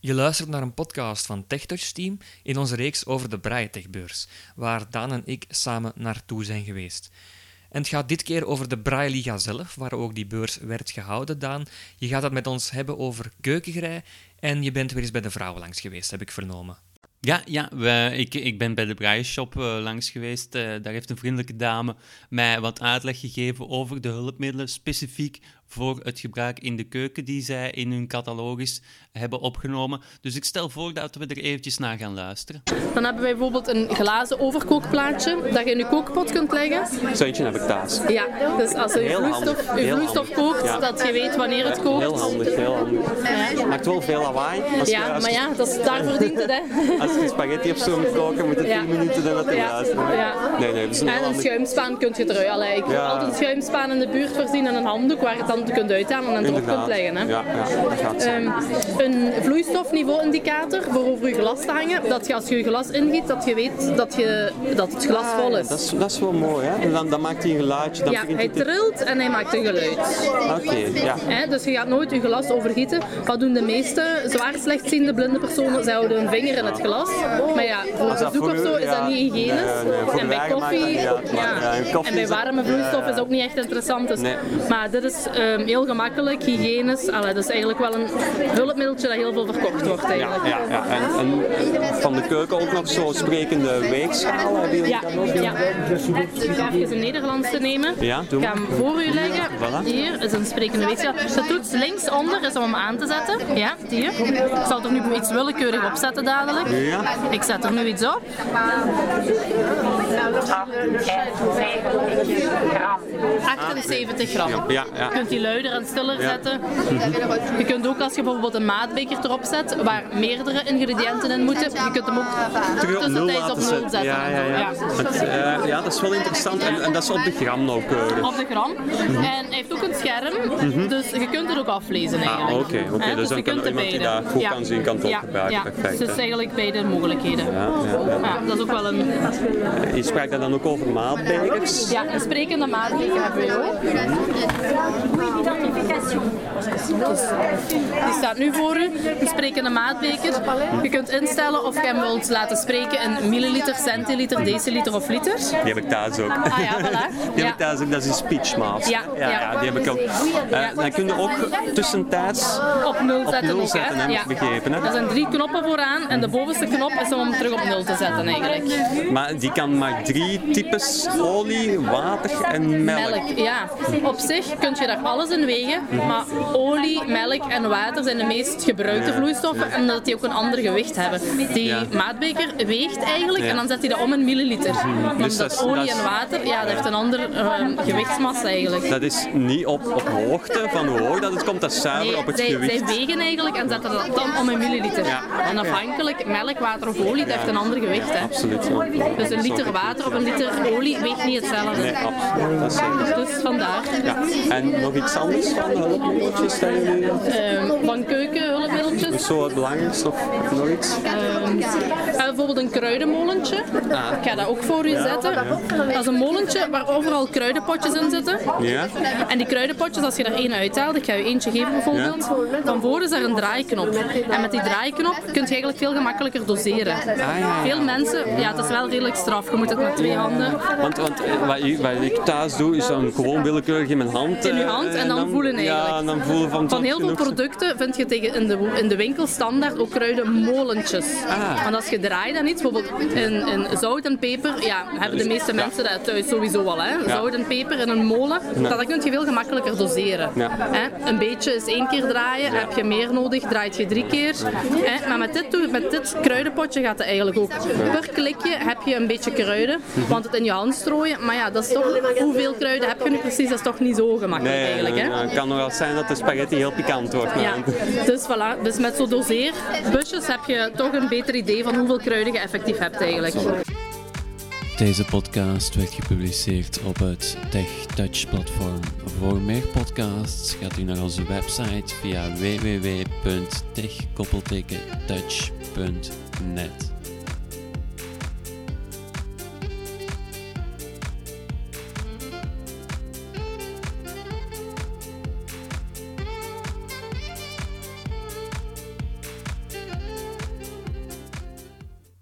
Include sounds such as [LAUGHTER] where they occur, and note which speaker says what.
Speaker 1: Je luistert naar een podcast van TechTouch Team in onze reeks over de Braille-techbeurs, waar Daan en ik samen naartoe zijn geweest. En het gaat dit keer over de Braille Liga zelf, waar ook die beurs werd gehouden, Daan. Je gaat het met ons hebben over keukengrij en je bent weer eens bij de vrouwen langs geweest, heb ik vernomen.
Speaker 2: Ja, ja we- ik, ik ben bij de Braille Shop eh, langs geweest. Eh, daar heeft een vriendelijke dame mij wat uitleg gegeven over de hulpmiddelen specifiek voor het gebruik in de keuken die zij in hun catalogus hebben opgenomen. Dus ik stel voor dat we er eventjes naar gaan luisteren.
Speaker 3: Dan hebben wij bijvoorbeeld een glazen overkookplaatje dat je in je kookpot kunt leggen.
Speaker 4: Zoiets heb ik thuis.
Speaker 3: Ja, dus als je
Speaker 4: Heel
Speaker 3: vloeistof,
Speaker 4: handig,
Speaker 3: je
Speaker 4: heel
Speaker 3: vloeistof
Speaker 4: handig.
Speaker 3: kookt,
Speaker 4: Ja.
Speaker 3: dat je weet wanneer het
Speaker 4: Heel
Speaker 3: kookt.
Speaker 4: handig, heel handig. Maakt wel veel lawaai. Als, je-
Speaker 3: Ja,
Speaker 4: als,
Speaker 3: maar
Speaker 4: je-
Speaker 3: ja, dat is, daarvoor dient
Speaker 4: [LAUGHS]
Speaker 3: het, hè.
Speaker 4: als je spaghetti of zo moet koken, moet het
Speaker 3: Ja.
Speaker 4: 10 minuten dan dat er
Speaker 3: Ja.
Speaker 4: juist.
Speaker 3: Ja.
Speaker 4: Nee, nee, dat is een heel
Speaker 3: En een
Speaker 4: handig.
Speaker 3: schuimspaan kunt je terug. Allee, ik wil
Speaker 4: Ja.
Speaker 3: altijd een schuimspaan in de buurt voorzien en een handdoek waar je het dan kunt uithalen en erop kunt
Speaker 4: Inderdaad.
Speaker 3: leggen. Hè.
Speaker 4: Ja, ja, dat gaat zijn.
Speaker 3: Ehm, een vloeistofniveau-indicator voor over je glas te hangen. Dat je als je je glas ingiet, dat je weet dat, je, dat het glas vol is.
Speaker 4: Ah, Dat is, dat is wel mooi, hè? En dan, dan maakt hij een geluidje. Dan
Speaker 3: Ja,
Speaker 4: begint
Speaker 3: hij
Speaker 4: het te-
Speaker 3: trilt en hij maakt een geluid.
Speaker 4: Oké, ja.
Speaker 3: Hè, dus je gaat nooit je glas overgieten. Wat doen de meeste zwaar slechtziende blinde personen? Zij houden hun vinger in het glas. Maar ja, voor
Speaker 4: Als dat
Speaker 3: bezoek
Speaker 4: voor
Speaker 3: of
Speaker 4: u-
Speaker 3: zo is
Speaker 4: ja,
Speaker 3: dat niet hygiënisch.
Speaker 4: nee, nee, voor
Speaker 3: en
Speaker 4: de
Speaker 3: bij
Speaker 4: wagen maakt
Speaker 3: koffie,
Speaker 4: dat niet uit, maar, ja, en koffie
Speaker 3: en bij
Speaker 4: is dat-
Speaker 3: warme vloeistof
Speaker 4: ja,
Speaker 3: is ook niet echt interessant. Dus.
Speaker 4: Nee.
Speaker 3: Maar dit is ehm, heel gemakkelijk, hygiënisch. Allee, dat is eigenlijk wel een hulpmiddeltje dat heel veel verkocht wordt eigenlijk.
Speaker 4: Ja, ja. En, en van de keuken ook nog zo sprekende weegschaal. Hebben jullie
Speaker 3: Ja,
Speaker 4: dat ook?
Speaker 3: ja. Ik ga even een Nederlandse nemen.
Speaker 4: Ja, doe
Speaker 3: Ik ga hem voor u leggen.
Speaker 4: Voilà.
Speaker 3: Hier is een sprekende weegschaal. De toets linksonder is om hem aan te zetten. Ja, hier. Ik zal er nu iets willekeurig op zetten dadelijk.
Speaker 4: Ja.
Speaker 3: Ik zet er nu iets op. 78 gram.
Speaker 4: Ja, ja.
Speaker 3: Je kunt die luider en stiller
Speaker 4: Ja.
Speaker 3: zetten. Je kunt ook als je bijvoorbeeld een maatbeker erop zet, waar meerdere ingrediënten in moeten, je kunt hem ook
Speaker 4: Terug op nul
Speaker 3: tussentijds op
Speaker 4: laten
Speaker 3: nul zetten.
Speaker 4: zetten. Ja, ja,
Speaker 3: en zo.
Speaker 4: ja.
Speaker 3: Ja.
Speaker 4: Het, eh, ja, dat is wel interessant. En, en dat is op de gram nauwkeurig.
Speaker 3: op de gram. En hij heeft ook een scherm, dus je kunt het ook aflezen eigenlijk.
Speaker 4: Mhm. Ah, oké, oké.
Speaker 3: Hè,
Speaker 4: Dus dan
Speaker 3: je
Speaker 4: kan
Speaker 3: kunt er
Speaker 4: iemand die
Speaker 3: beide.
Speaker 4: dat goed kan zien, kan het ook gebruiken.
Speaker 3: Ja,
Speaker 4: Perfect,
Speaker 3: dus
Speaker 4: hè.
Speaker 3: eigenlijk beide mogelijkheden.
Speaker 4: Ja, ja, ja.
Speaker 3: Ja, dat is ook wel een,
Speaker 4: Je sprak daar dan ook over maatbekers.
Speaker 3: ja, een sprekende maatregel hebben we ook. Die staat nu voor u, een sprekende maatbeker. Je kunt instellen of je hem wilt laten spreken in milliliter, centiliter, deciliter of liter.
Speaker 4: Die heb ik thuis ook.
Speaker 3: Ah ja, voilà. Ja.
Speaker 4: Die heb ik thuis ook, dat is een speechmaat.
Speaker 3: Ja,
Speaker 4: ja,
Speaker 3: ja.
Speaker 4: die heb ik ook. Eh,
Speaker 3: Ja.
Speaker 4: Dan kun je ook tussentijds
Speaker 3: Op nul zetten
Speaker 4: nul
Speaker 3: ook,
Speaker 4: zetten, heb
Speaker 3: hè?
Speaker 4: ik begrepen, hè?
Speaker 3: Er zijn drie knoppen vooraan en de bovenste knop is om hem terug op nul te zetten eigenlijk.
Speaker 4: Maar die kan maar drie types olie, water en melk.
Speaker 3: Melk, ja. Op zich kun je daar alles in wegen, maar olie, melk en water zijn de meest gebruikte vloeistoffen en dat die ook een ander gewicht hebben. Die
Speaker 4: Ja.
Speaker 3: maatbeker weegt eigenlijk
Speaker 4: Ja.
Speaker 3: en dan zet hij dat om in milliliter. Want
Speaker 4: Dus
Speaker 3: dat
Speaker 4: dat is-
Speaker 3: olie
Speaker 4: dat is-
Speaker 3: en water, ja, dat heeft een ander ehm, gewichtsmassa eigenlijk.
Speaker 4: Dat is niet op, op hoogte van hoe hoog dat het komt, dat is zuiver
Speaker 3: Nee,
Speaker 4: op het
Speaker 3: zij,
Speaker 4: gewicht.
Speaker 3: zij wegen eigenlijk en zetten dat dan om in milliliter. En afhankelijk melk, water of olie, dat heeft een ander gewicht. Hè.
Speaker 4: Absoluut.
Speaker 3: Dus een liter water of een liter olie weegt niet hetzelfde.
Speaker 4: Nee, absoluut. Dat is zeker.
Speaker 3: Dus vandaar.
Speaker 4: Ja. En nog iets anders van de hulpmiddeltjes dat jullie... eh,
Speaker 3: Ehm, van keukenhulpmiddeltjes.
Speaker 4: Zo het belangrijkste of of nog iets?
Speaker 3: Ehm, eh, bijvoorbeeld een kruidenmolentje.
Speaker 4: Ah.
Speaker 3: Ik ga dat ook voor u zetten. Dat is een molentje waar overal kruidenpotjes in zitten.
Speaker 4: Ja?
Speaker 3: En die kruidenpotjes, als je er één uithaalt, ik ga je eentje geven bijvoorbeeld, van voren is daar een draaiknop. En met die draaiknop kun je eigenlijk veel gemakkelijker doseren. Veel mensen, ja, het is wel redelijk straf. Je moet het met twee handen
Speaker 4: Want, want eh, wat, ik, wat ik thuis doe, is dan gewoon willekeurig in mijn hand.
Speaker 3: In je
Speaker 4: eh,
Speaker 3: hand en dan voelen
Speaker 4: Ja,
Speaker 3: eigenlijk.
Speaker 4: en dan voelen van...
Speaker 3: Van heel veel
Speaker 4: genoeg-
Speaker 3: producten vind je tegen in, de, in de winkel standaard ook kruidenmolentjes.
Speaker 4: Ah.
Speaker 3: Want als je draait aan iets, bijvoorbeeld in, in zout en peper, ja, hebben de meeste mensen dat thuis sowieso al. Hè? Zout en peper in een molen, dat kun je veel gemakkelijker doseren.
Speaker 4: Ja.
Speaker 3: Hè? Een beetje is één keer draaien, heb je meer nodig, draait je drie keer. Hè? Maar met dit, toe- met dit kruidenpotje gaat het eigenlijk ook. Per klikje heb je een beetje kruiden,
Speaker 4: Mhm.
Speaker 3: want het in je hand strooien, maar ja, dat is toch, hoeveel kruiden heb je nu precies, dat is toch niet zo gemakkelijk
Speaker 4: Nee,
Speaker 3: eigenlijk.
Speaker 4: nee,
Speaker 3: Hè?
Speaker 4: nee, het kan nog wel zijn dat de spaghetti heel pikant wordt.
Speaker 3: Ja,
Speaker 4: maar-
Speaker 3: dus voilà. Dus met zo'n doseerbusjes heb je toch een beter idee van hoeveel kruiden je effectief hebt eigenlijk.
Speaker 5: Deze podcast werd gepubliceerd op het TechTouch platform. Voor meer podcasts gaat u naar onze website via www.tech-touch.net.